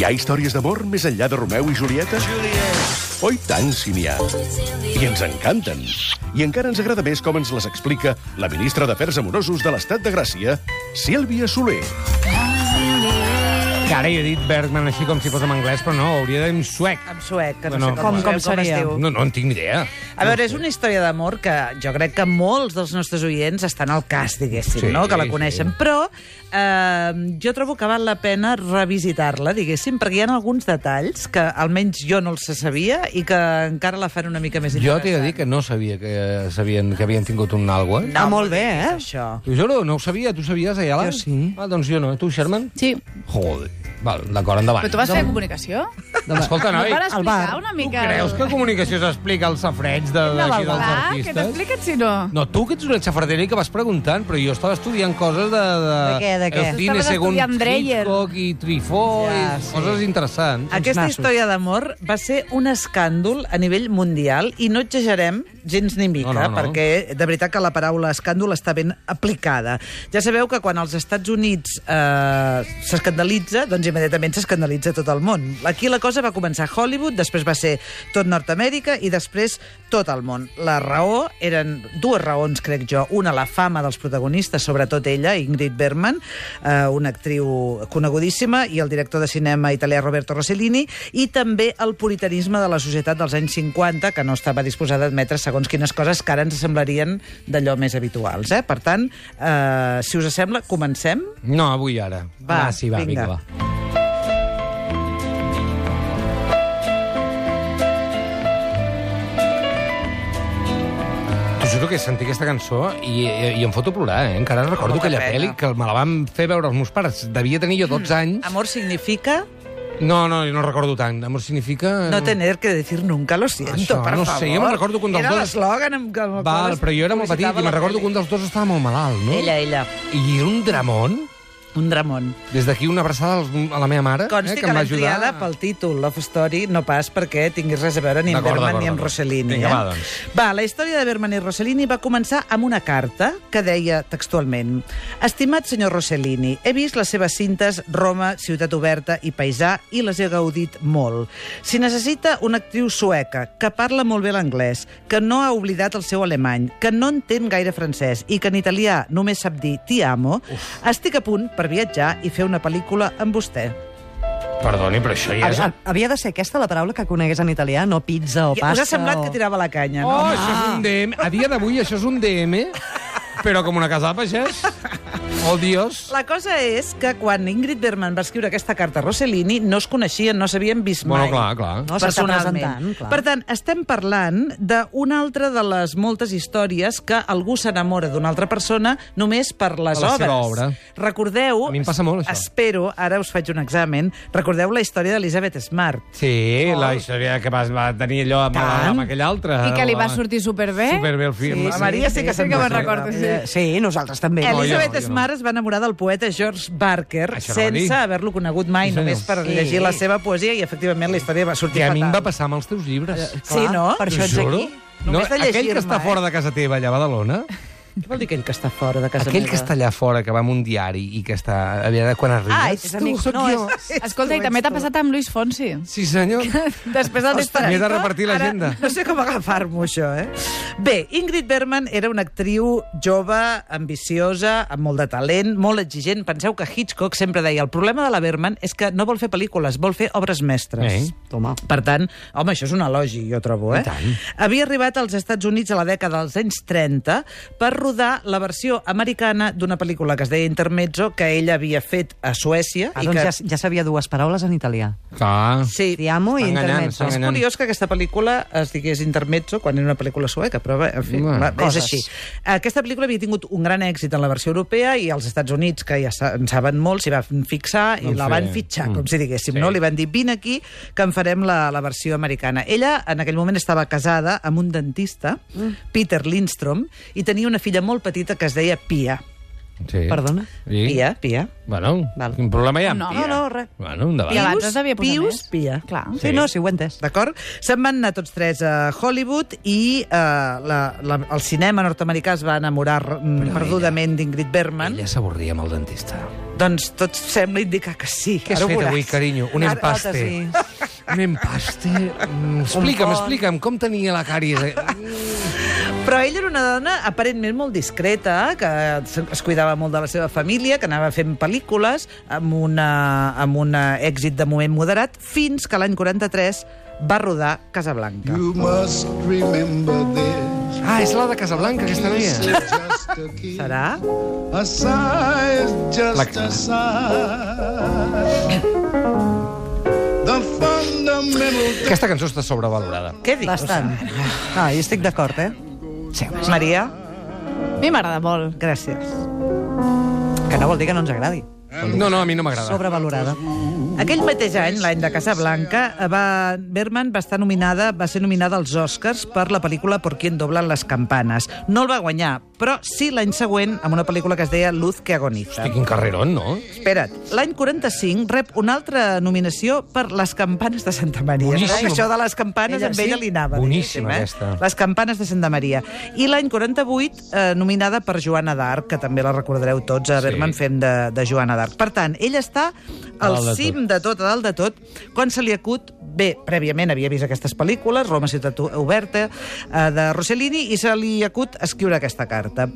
Hi ha històries d'amor més enllà de Romeu i Julieta? Oi tant, si n'hi ha. I ens encanten. I encara ens agrada més com ens les explica la ministra d'Afers Amorosos de l'Estat de Gràcia, Sílvia Soler. Que ara jo he dit Bergman així com si fos en anglès, però no, hauria de dir en suec. En suec, que no, No, no, no. sé Com- com, com es seria? diu. No, no en tinc ni idea. A veure, és una història d'amor que jo crec que molts dels nostres oients estan al cas, diguéssim, Sí, no? que la sí. coneixen. Però eh, jo trobo que val la pena revisitar-la, diguéssim, perquè hi ha alguns detalls que almenys jo no els sabia i que encara la fan una mica més Jo t'he de interessant. dir que no sabia que, eh, sabien, que havien tingut un algo, eh? Ah, molt bé, eh? Això. T'ho juro, no ho sabia. Tu sabies, Ayala? Jo sí. Ah, doncs jo no. Tu, Sherman? Sí. Joder. Val, d'acord, endavant. Però tu vas fer comunicació? Escolta, No noi, van al explicar bar. una tu mica... creus que comunicació s'explica als safrets de, No, d'aquí val, dels val, que artistes? t'explica't si no. No, tu que ets una xafardera i que vas preguntant, però jo estava estudiant coses de... De, De què, de què? El cine Estaves segons estudiant Dreyer. Hitchcock i Trifó Ja, i sí. coses interessants. Aquesta nassos. història d'amor va ser un escàndol a nivell mundial i no exagerem gens ni mica, No, no, no. perquè de veritat que la paraula escàndol està ben aplicada. Ja sabeu que quan als Estats Units eh, s'escandalitza, doncs immediatament s'escandalitza tot el món. Aquí la cosa va començar a Hollywood, després va ser tot Nord-Amèrica i després tot el món. La raó eren dues raons, crec jo. Una, la fama dels protagonistes, sobretot ella, Ingrid Bergman, eh, una actriu conegudíssima, i el director de cinema italià Roberto Rossellini, i també el puritanisme de la societat dels anys 50, que no estava disposada a admetre segons quines coses que ara ens semblarien d'allò més habituals. Eh? Per tant, eh, si us sembla, comencem. No, avui ara. Ah, Va, sí, va, vinga. vinga. va. T'ho juro que sentir aquesta cançó i, i, i em foto a plorar, eh? Encara recordo Molta aquella pena. Mm. pel·li que me la van fer veure els meus pares. Devia tenir jo 12 anys. Amor significa No, no, jo no recordo tant. Amor significa... no tener que decir nunca lo siento, Mm. Això, per no favor. sé, jo me'n recordo que un dels Era dos- l'eslògan amb que... amb el qual Val, es però jo era molt petit publicitava i la me'n recordo tele. que un dels dos estava molt malalt, no? Ella, ella. I era un dramón. Un Ramon. Des d'aquí una abraçada als- a la meva mare, Consti eh, que, que em va l'hem ajudar. triada pel títol, Love Story, no pas perquè tinguis res a veure ni amb D'acord, Berman d'acord, ni amb d'acord. Rossellini. Vinga, eh? va, doncs. Va, la història de Berman i Rossellini va començar amb una carta que deia textualment Estimat senyor Rossellini, he vist les seves cintes Roma, Ciutat Oberta i Paisà i les he gaudit molt. Si necessita una actriu sueca que parla molt bé l'anglès, que no ha oblidat el seu alemany, que no entén gaire francès i que en italià només sap dir ti amo, Uf. estic a punt per viatjar i fer una pel·lícula amb vostè. Perdoni, però això ja és... Havia, havia de ser aquesta la paraula que conegués en italià, no pizza o I pasta. Us ha semblat o... que tirava la canya, Oh, no? Ah. això és un DM. A dia d'avui això és un DM, però com una casa de pagès. Oh, Dios. La cosa és que quan Ingrid Bergman va escriure aquesta carta a Rossellini no es coneixien, no s'havien vist mai. Bueno, clar, clar. No, s'està personalment. presentant, clar. Per tant, estem parlant d'una altra de les moltes històries que algú s'enamora d'una altra persona només per les Per la obres. seva obra. Recordeu... A mi em passa molt, això. Espero, ara us faig un examen, recordeu la història d'Elizabeth Smart. Sí, Oh. la història que va, va tenir allò amb, la, amb aquella altra. I que li va La- sortir superbé? Ah, Superbé el film. Sí, sí. Maria sí que se'n que me'n recorda. recordo, sí. Eh, Sí, nosaltres també. jo no, Elizabeth jo no. Smart es va enamorar del poeta George Barker Això no va dir. sense haver-lo conegut mai, Sí, senyor. només per Sí. llegir la seva poesia i, efectivament, la història va I sortir a mi em va fatal. passar amb els teus llibres. Eh, Sí, no? Per això ets T'ho juro. aquí. No, Només de aquell que llegir-me, està eh? fora de casa teva, allà a Badalona, Què vol dir aquell que està fora de casa aquell meva? que està allà fora, que va amb un diari i que està... A veure, quan arribes... Ah, ets amic. sóc No, jo. és... Escolta, i també t'ha passat amb Luis Fonsi. Sí, senyor. Després del M'he testamento... de repartir l'agenda. No sé com agafar-m'ho, això, eh? Bé, Ingrid Bergman era una actriu jove, ambiciosa, amb molt de talent, molt exigent. Penseu que Hitchcock sempre deia el problema de la Bergman és que no vol fer pel·lícules, vol fer obres mestres. Eh. Toma. Per tant, home, això és un elogi, jo trobo, eh? I tant. Havia arribat als Estats Units a la dècada dels anys 30 per rodar la versió americana d'una pel·lícula que es deia Intermezzo, que ella havia fet a Suècia. Ah, i doncs que... ja, ja sabia dues paraules en italià. Clar. Sí, Ti amo i Està Doncs, enganyant, intermezzo. està És Tenen- curiós que aquesta pel·lícula es digués Intermezzo quan era una pel·lícula sueca, però bé, en fi, Bueno, va, és coses. així. Aquesta pel·lícula havia tingut un gran èxit en la versió europea i als Estats Units, que ja sa- en saben molt, s'hi van fixar i Van la fer- Mm. van fitxar, com si diguéssim, Sí. no? Li van dir, vine aquí, que en farem la, la versió americana. Ella, en aquell moment, estava casada amb un dentista, Peter Lindstrom, i tenia una filla molt petita que es deia Pia. Sí. Perdona? Sí. Pia, Pia. Bueno, Val. quin problema hi ha amb No, Pia? no, res. Bueno, endavant. I abans es devia posar Pius, més. Pia. Clar. Sí, sí no, sí, ho he entès. D'acord? Se'n van anar tots tres a Hollywood i eh, la, la, el cinema nord-americà es va enamorar mm, perdudament d'Ingrid Bergman. Ella s'avorria amb el dentista. Doncs tot sembla indicar que sí. Què has Ara ho fet veuràs. avui, carinyo? Un Ara- empaste. ara Un empaste? Mm, explica'm, pont. explica'm, com tenia la càries? eh? Però ella era una dona aparentment molt discreta, que es es cuidava molt de la seva família, que anava fent pel·lícules amb, una, amb un èxit de moment moderat, fins que l'any 43 va rodar Casablanca. You must remember this. Ah, és la de Casablanca, aquesta noia. It's just a kiss. Serà? A sigh is Like just that. a sigh. The fundamental Aquesta cançó està sobrevalorada. Què dius? Bastant. No, jo estic d'acord, eh? Maria, A mi m'agrada molt. gràcies. Que no vol dir que no ens agradi. No, no, a mi no m'agrada. Sobrevalorada. Aquell mateix any, l'any de Casablanca, eh, va, Berman va estar nominada, va ser nominada als Oscars per la pel·lícula Por quien doblan las campanas. No el va guanyar, però sí l'any següent amb una pel·lícula que es deia Luz que agoniza. Hosti, quin carrerón, no? Espera't, l'any 45 rep una altra nominació per Les campanes de Santa Maria. Boníssim. Això de les campanes ella, Ella amb sí? ella li anava. Boníssima, diguéssim, eh? aquesta. Les campanes de Santa Maria. I l'any 48, eh, nominada per Joana d'Arc, que també la recordareu tots, a Sí. sí. Berman fem de, de Joana d'Arc. Per tant, ella està al dalt de cim de tot, a dalt de tot, quan se li acut Bé, prèviament havia vist aquestes pel·lícules, Roma, ciutat oberta, eh, de Rossellini, i se li acut escriure aquesta carta.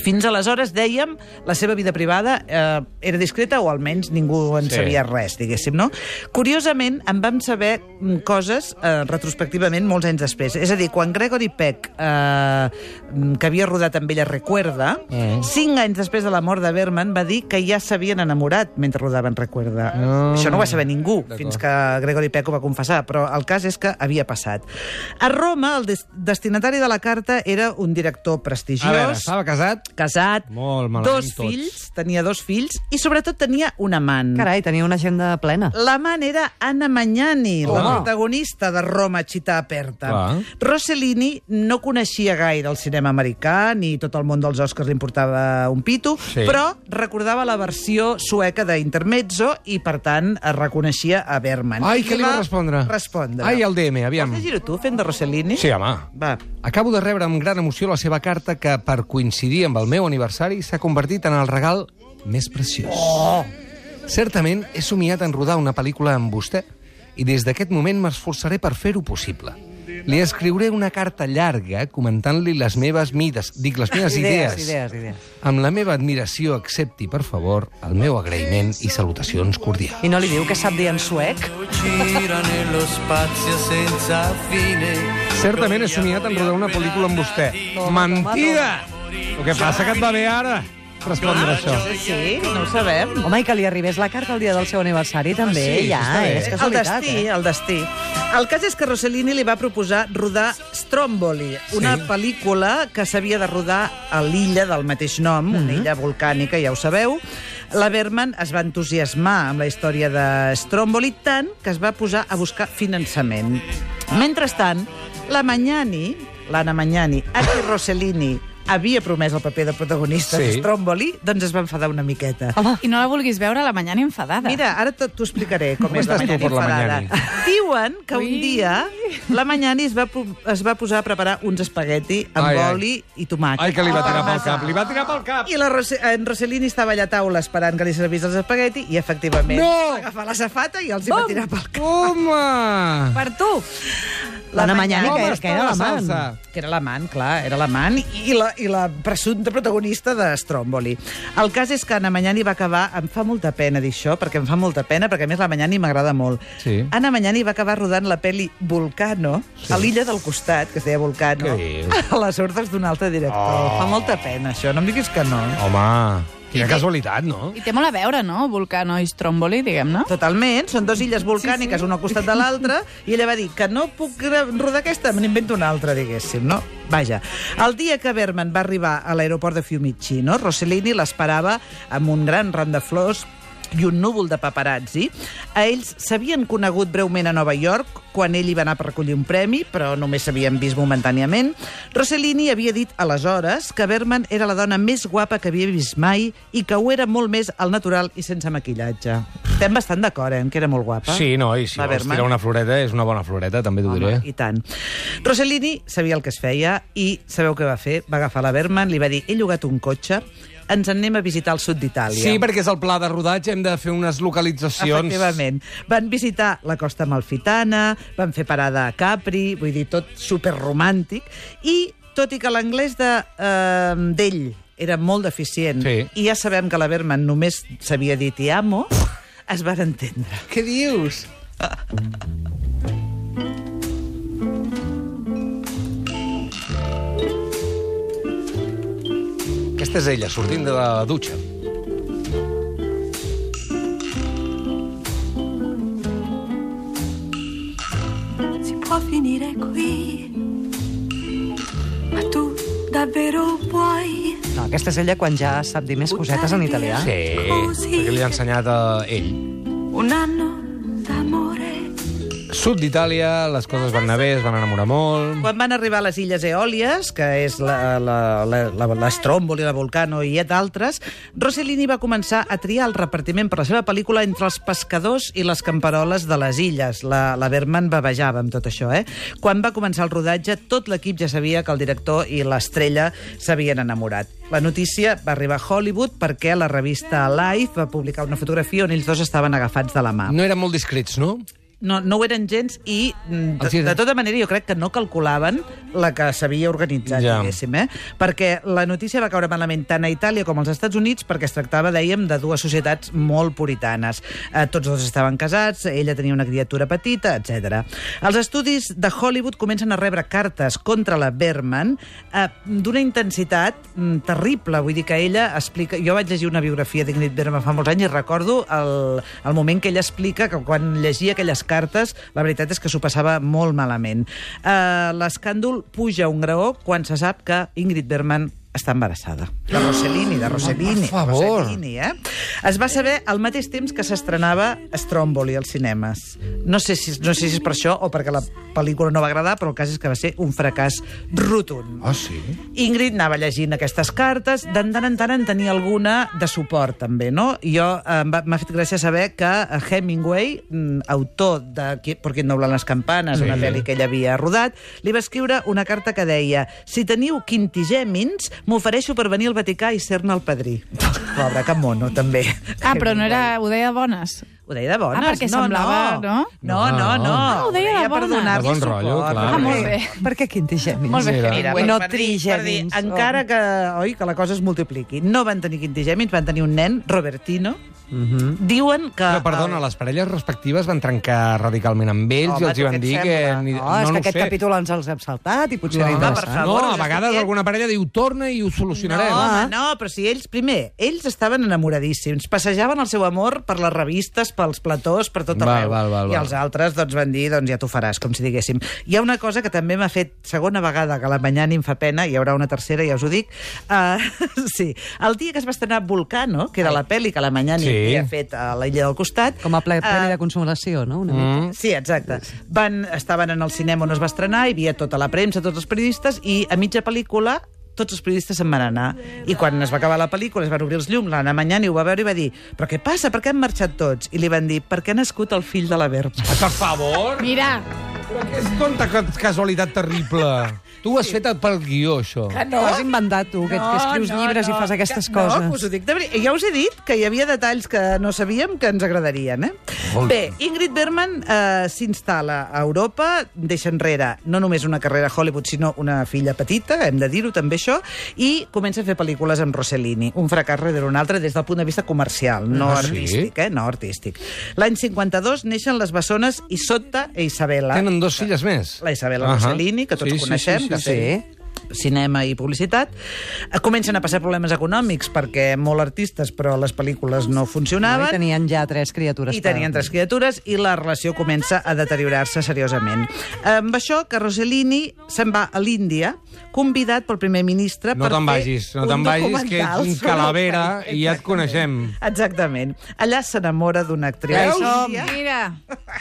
Fins aleshores, dèiem, la seva vida privada eh, era discreta o almenys ningú en Sí. sí. sabia res, diguéssim, no? Curiosament, en vam saber mm, coses eh, retrospectivament molts anys després. És a dir, quan Gregory Peck, eh, mm, que havia rodat amb ella Recuerda, Mm. mm. cinc anys després de la mort de Berman va dir que ja s'havien enamorat mentre rodaven Recuerda. Ah. Això no ho va saber ningú, D'acord. fins que Gregory Peck ho va confessar, però el cas és que havia passat. A Roma, el des destinatari de la carta era un director A veure, prestigiós, estava casat... casat, Molt malament dos tots. fills, tenia dos fills, i sobretot tenia un amant. Carai, tenia una agenda plena. L'amant era Anna Magnani, la Home. protagonista de Roma, Città Aperta. Clar. Rossellini no coneixia gaire el cinema americà, ni tot el món dels Oscars li importava un pito, Sí. però recordava la versió sueca d'Intermezzo i, per tant, es reconeixia a Berman. Ai, I què li va respondre? Respondre. Ai, el DM, aviam. Vols llegir-ho tu, fent de Rossellini? Sí, home. Va. Acabo de rebre amb gran emoció la seva carta que, per coincidir amb el meu aniversari, s'ha convertit en el regal més preciós. Oh! Certament he somiat en rodar una pel·lícula amb vostè i des d'aquest moment m'esforçaré per fer-ho possible. Li escriuré una carta llarga comentant-li les meves mides, dic, les meves idees, Idees, idees. Amb la meva admiració accepti, per favor, el meu agraïment i salutacions cordials. I no li diu que sap dir en suec? gira nello spazio senza fine. Certament he somiat en rodar una pel·lícula amb vostè. Mentida! El que passa que et va bé ara respondre això. Sí, no ho sabem. Home, i que li arribés la carta el dia del seu aniversari, també, sí, ja, està bé. és Eh, el casualitat. eh? destí, el destí. El cas és que Rossellini li va proposar rodar Stromboli, una Sí. pel·lícula que s'havia de rodar a l'illa del mateix nom, una illa volcànica, ja ho sabeu. La Berman es va entusiasmar amb la història de Stromboli tant que es va posar a buscar finançament. Mentrestant, la Magnani, l'Anna Magnani, a qui Rossellini havia promès el paper de protagonista Sí. de Stromboli, doncs es va enfadar una miqueta. I no la vulguis veure a la mañana enfadada. Ah. Mira, ara t- t'ho explicaré com Com és la estàs tu Mañani per la enfadada. Diuen que un Ui. dia la Mañani es va, po- es va posar a preparar uns espagueti amb Ai, ai, ai. oli i tomàquet. Ai, que li va tirar pel cap, li va tirar pel cap! I la Rose, en Rossellini estava allà a taula esperant que li servís els espagueti i, efectivament, No! va agafar la safata i els hi va tirar pel cap. Home! Per tu! L'Anna Magnani, Com que, que està era la l'amant. salsa? que era l'amant, clar, era l'amant, i la, i la presumpta protagonista de Stromboli. El cas és que Anna Magnani va acabar... Em fa molta pena dir això, perquè em fa molta pena, perquè a més la Magnani m'agrada molt. Sí. Anna Magnani va acabar rodant la peli Volcano, sí. a l'illa del costat, que es deia Volcano, Què dius? a les ordres d'un altre director. Oh. Fa molta pena, això, no em diguis que no. Home, quina casualitat, no? I té molt a veure, no? Volcano i Stromboli, diguem-ne. Totalment, són dues illes volcàniques, sí, sí. una al costat de l'altra, i ella va dir que no puc gra- rodar aquesta, me n'invento una altra, diguéssim, no? Vaja, el dia que Berman va arribar a l'aeroport de Fiumicino, Rossellini l'esperava amb un gran ram de flors i un núvol de paparazzi. A ells s'havien conegut breument a Nova York quan ell hi va anar per recollir un premi, però només s'havien vist momentàniament. Rossellini havia dit aleshores que Berman era la dona més guapa que havia vist mai i que ho era molt més al natural i sense maquillatge. Estem bastant d'acord, eh, en que era molt guapa. Sí, no, i si La vols Berman. tirar una floreta, és una bona floreta, també t'ho diré. Home, I tant. Rossellini sabia el que es feia i sabeu què va fer? Va agafar la Berman, li va dir, he llogat un cotxe, ens anem a visitar al sud d'Itàlia. Sí, perquè és el pla de rodatge, hem de fer unes localitzacions... Efectivament. Van visitar la costa malfitana, van fer parada a Capri, vull dir, tot superromàntic, i tot i que l'anglès de, eh, d'ell era molt deficient, Sí. i ja sabem que la Berman només s'havia dit i amo, es van entendre. Què dius? Aquesta és ella, sortint de la dutxa. si può finire qui. Ma tu davvero vuoi? No, aquesta és ella quan ja sap dir més cosetes en italià. Sí, perquè li ha ensenyat a ell. Un anno d'amore. Sud d'Itàlia, les coses van anar bé, es van enamorar molt... Quan van arribar a les Illes Eòlies, que és la- la- la- la- l'Estromboli, la Volcano i d'altres, Rossellini va començar a triar el repartiment per la seva pel·lícula entre els pescadors i les camperoles de les illes. La, la Berman bavejava amb tot això, eh? Quan va començar el rodatge, tot l'equip ja sabia que el director i l'estrella s'havien enamorat. La notícia va arribar a Hollywood perquè la revista Life va publicar una fotografia on ells dos estaven agafats de la mà. No eren molt discrets, no? No, no ho eren gens i, mm, Els de, hi- de tota manera, jo crec que no calculaven la que s'havia organitzat, Ja. ja. diguéssim, eh? Perquè la notícia va caure malament tant a Itàlia com als Estats Units perquè es tractava, dèiem, de dues societats molt puritanes. Eh, tots dos estaven casats, ella tenia una criatura petita, etc. Els estudis de Hollywood comencen a rebre cartes contra la Berman eh, d'una intensitat mm, terrible. Vull dir que ella explica... Jo vaig llegir una biografia d'Ingrid Berman fa molts anys i recordo el, el moment que ella explica que quan llegia aquelles cartes, la veritat és que s'ho passava molt malament. Eh, L'escàndol puja un graó quan se sap que Ingrid Berman està embarassada. De Rossellini, de Per Rossellini. favor. Rossellini, eh? Es va saber al mateix temps que s'estrenava Stromboli als cinemes. No sé, si, no sé si és per això o perquè la pel·lícula no va agradar, però el cas és que va ser un fracàs rotund. Ah, sí? Ingrid anava llegint aquestes cartes, de tant en tant en tenia alguna de suport, també, no? Jo eh, em va- m'ha fet gràcia saber que eh, Hemingway, mm, autor de Qui- Por qué no doblen les campanes, Sí. sí. una pel·li que ell havia rodat, li va escriure una carta que deia si teniu quintigèmins, m'ofereixo per venir al Vaticà i ser-ne el padrí. Pobre, que mono, també. Ah, però no era... Ho deia de bones. Ho deia de bones. Ah, perquè no, semblava, No, no, no. no. no. Ah, ho deia de per bones. donar-li De bon suport. rotllo, clar. Ah, molt bé. Perquè quintigèmins. Molt bé, Mira. Mira. no per dir- trigèmins. per dir, Encara que, oi, que la cosa es multipliqui. No van tenir quintigèmins, van tenir un nen, Robertino. Diuen que... Però, Mhm. perdona, les parelles respectives van trencar radicalment amb ells Home, i els hi tu van què et dir que... sembla? Ni... No, és que ho aquest sé. capítol ens els hem saltat i potser No, era home, per interessant. favor, no, a us vegades estiguem- alguna parella diu torna i ho solucionarem. No, home, no, però si ells, primer, ells estaven enamoradíssims, passejaven el seu amor per les revistes, pels platós, per tot Val, arreu. val, val, I val. els altres doncs, van dir, doncs ja t'ho faràs, com si diguéssim. Hi ha una cosa que també m'ha fet, segona vegada que la Mañani em fa pena, hi haurà una tercera, ja us ho dic, uh, sí, el dia que es va estrenar Volcano, que era la pel·li que la Mañani Sí. sí. havia fet a la illa del costat... Com a ple, eh, premi de consolació, no? Una mica. Sí, exacte. Van, estaven en el cinema on es va estrenar, hi havia tota la premsa, tots els periodistes, i a mitja pel·lícula tots els periodistes se'n van anar. I quan es va acabar la pel·lícula, es van obrir els llums, l'Anna Mañani ho va veure i va dir però què passa, per què han marxat tots? I li van dir perquè ha nascut el fill de la Berma. Per favor! Mira, Però que és tonta ca- casualitat terrible. Tu ho has fet pel guió, això. No, has inventat tu, que, que escrius llibres i fas aquestes coses. No, us ho dic de veritat. Ja us he dit que hi havia detalls que no sabíem que ens agradarien, eh? Molt Bé, Ingrid Berman eh, s'instal·la a Europa, deixa enrere no només una carrera a Hollywood, sinó una filla petita, hem de dir-ho també això, i comença a fer pel·lícules amb Rossellini, un fracàs rere un altre des del punt de vista comercial, no Ah, sí? artístic, eh? No artístic. L'any 52 neixen les bessones Isotta e Isabella. Tenen dos filles més. La Isabel uh Ahà. -huh. Rossellini, que tots Sí, sí, sí, coneixem, sí, sí, que sí. sí. cinema i publicitat. Eh, Comencen a passar problemes econòmics perquè molt artistes, però les pel·lícules no No, I funcionaven. tenien ja tres criatures. I tenien tres criatures i la relació comença a deteriorar-se seriosament. Amb això que Rossellini se'n va a l'Índia, convidat pel primer ministre No per te'n fer vagis, no un te'n vagis, que ets documental un sobre el calavera país. i ja et Exactament. coneixem. Exactament. Allà s'enamora d'una actriu. Veus? índia. mira.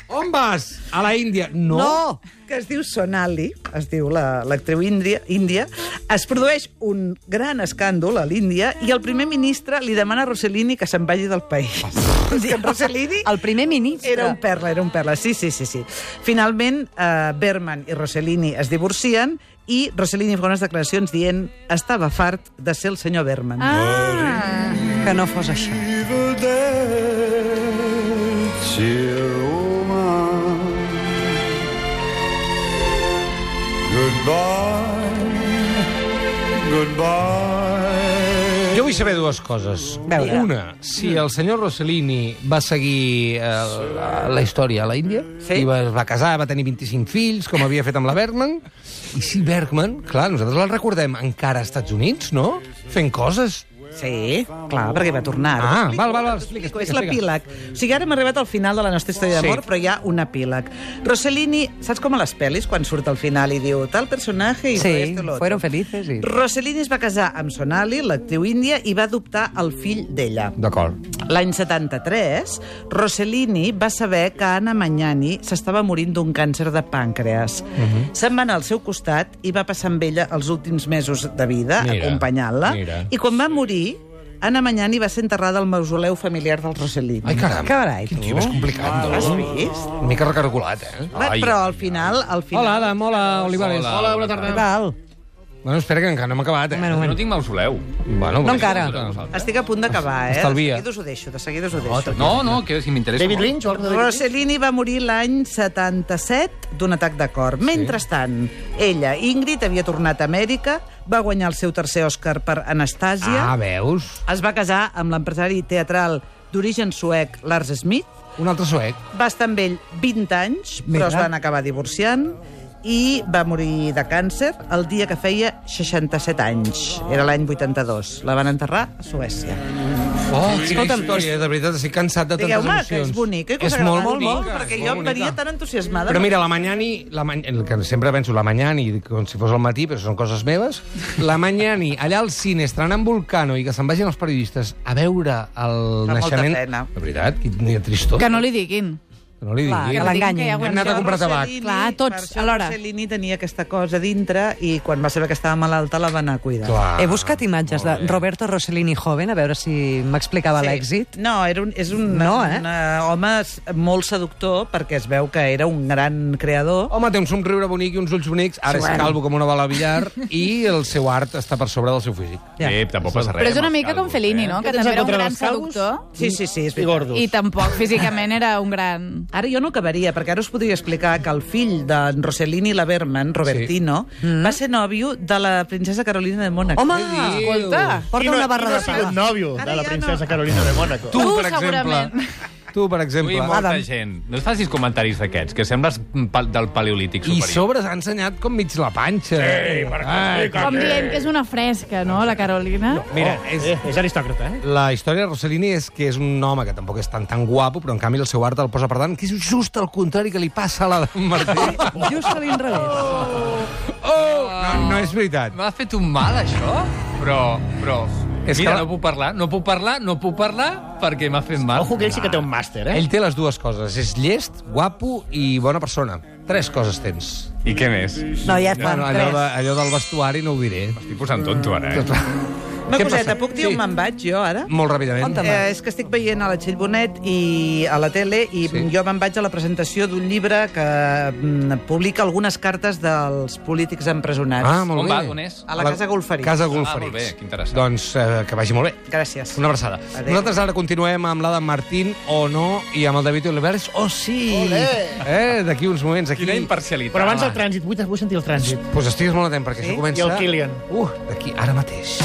On vas? A la Índia? No. No, que es diu Sonali, es diu la- l'actriu índia, índia, es produeix un gran escàndol a l'Índia i el primer ministre li demana a Rossellini que se'n vagi del país. És que en Rossellini El primer ministre. era un perla, era un perla, sí, sí, sí. sí. Finalment, eh, Berman i Rossellini es divorcien i Rossellini fa unes declaracions dient estava fart de ser el senyor Berman. Ah, Que no fos això. Evil dead, dear woman. Goodbye, goodbye. Jo vull saber dues coses. Veure. Una, si el senyor Rossellini va seguir eh, la, la història a la Índia, Sí. i va, es va casar, va tenir 25 fills, com havia fet amb la Bergman, i si Bergman, clar, nosaltres la recordem encara als Estats Units, no? Fent coses. Sí, clar, perquè va tornar. Ah, Ho explico, val, val, val, ho explica, explica, explico, És l'epíleg. O sigui, ara hem arribat al final de la nostra història Sí. d'amor, però hi ha un epíleg. Rossellini, saps com a les pel·lis, quan surt al final i diu tal personatge i Sí, esto lo otro"? fueron felices y- Rossellini es va casar amb Sonali, l'actriu índia, i va adoptar el fill d'ella. D'acord. L'any 73, Rossellini va saber que Anna Magnani s'estava morint d'un càncer de pàncreas. Mhm. Se'n va anar al seu costat i va passar amb ella els últims mesos de vida, Mira, acompanyant-la. mira. I quan va morir, Anna Magnani va ser enterrada al mausoleu familiar dels Rossellini. Ai, caram. Carai, Quin tu. tio més complicat, no? Has vist? Una mica recargolat, eh? Va, però al final... Al final Hola, Adam, hola, Olivares. Hola, bona tarda. Val. Bueno, espera, que encara no hem acabat, eh? Bueno, No bueno. tinc mausoleu. Bueno, No pues- encara. Estic a punt d'acabar, eh? Estalvia. De seguida us ho deixo, de seguida us ho deixo. No, no, que si m'interessa. David molt. Lynch o algo de David Lynch? Rossellini va morir l'any 77 d'un atac de cor. Mentrestant, ella, Ingrid, havia tornat a Amèrica, va guanyar el seu tercer Oscar per Anastàsia, Ah, veus? es va casar amb l'empresari teatral d'origen suec Lars Smith, Un altre suec. va estar amb ell 20 anys, però es van acabar divorciant, i va morir de càncer el dia que feia 67 anys. Era l'any 82. La van enterrar a Suècia. Oh, Escolta'm, història, de veritat, estic cansat de tantes Digueu-me emocions. que és bonic, eh? Que us és agrada molt, molt, molt, perquè jo em venia tan entusiasmada. Però mira, la Mañani, la Ma... el que sempre penso, la Mañani, com si fos al matí, però són coses meves, la Mañani, allà al cine, estrenant Volcano, i que se'n vagin els periodistes a veure el Fa molta naixement... pena. De veritat, quina tristor. que no li diguin. Que no li Clar, diguin. que l'enganyin. Que hi ha Hem anat a guanyat. comprar tabac. Rossellini- Clar, tots, per això alhora. Rossellini tenia aquesta cosa dintre i quan va saber que estava malalta la va anar a cuidar. Clar. He buscat imatges de Roberto Rossellini joven, a veure si m'explicava l'èxit. No, era un, és un, No, eh? un eh, home s- molt seductor perquè es veu que era un gran creador. Home, té un somriure bonic i uns ulls bonics, ara és calvo com una bala de billar i el seu art està per sobre del seu físic. Ja. Eh, tampoc passa res. Però és una amb els mica com calvos, Fellini, eh? no? Què Que tens també era un contra gran els calvos? seductor Sí, sí, sí, és I veritat. gordos. i tampoc físicament era un gran... Ara jo no acabaria, perquè ara us podria explicar que el fill d'en Rossellini la Berman, Robertino, sí. va ser nòvio de la princesa Carolina de Mònaco. Home, Escolta, porta una barra de ha pa. sigut nòvio Ara de la ja princesa no. Carolina de Mònaco. Tu, Tu, per exemple. Uh, segurament. Tu, per exemple. Ui, molta Adam. gent. No et facis comentaris d'aquests, que sembles pa- del paleolític I superior. sobre s'ha ensenyat com mig la panxa. Ah. Sí, Ai, Com dient que és una fresca, no, la Carolina? Mira, és... Eh, és aristòcrata, eh? La història de Rossellini és que és un home que tampoc és tan tan guapo, però en canvi el seu art el posa per tant, que és just el contrari que li passa a la d'en Martí. Just a l'inrevés. No, no és veritat. M'ha fet un mal, això? Però, però... És Mira, que- no puc parlar, no puc parlar, no puc parlar perquè m'ha fet mal. Ojo que ell sí que té un màster, eh? Ell té les dues coses. És llest, guapo i bona persona. Tres coses tens. I què més? No, ja et fan Bueno, allò, de, tres. allò del vestuari no ho diré. Estic posant tonto, ara, Doncs eh? Una Què coseta, passa? puc dir on Sí. me'n vaig jo ara? Molt ràpidament. Eh, és que estic veient a la Txell Bonet i a la tele i Sí. sí. jo me'n vaig a la presentació d'un llibre que mm, publica algunes cartes dels polítics empresonats. Ah, molt On bé. va? On és? A la Casa Golferits. Casa Ah, molt bé, Golferits. que interessant. doncs eh, que vagi molt bé. Gràcies. Una abraçada. Adéu. Nosaltres ara continuem amb l'Adam Martín, o no, i amb el David Olivares, o oh, sí! Olé! Eh, D'aquí uns moments, aquí... Quina imparcialitat. Però abans el trànsit, vull, vull sentir el trànsit. Doncs pues estigues molt atent, perquè sí? això comença... I el Killian. Uh, d'aquí, ara mateix.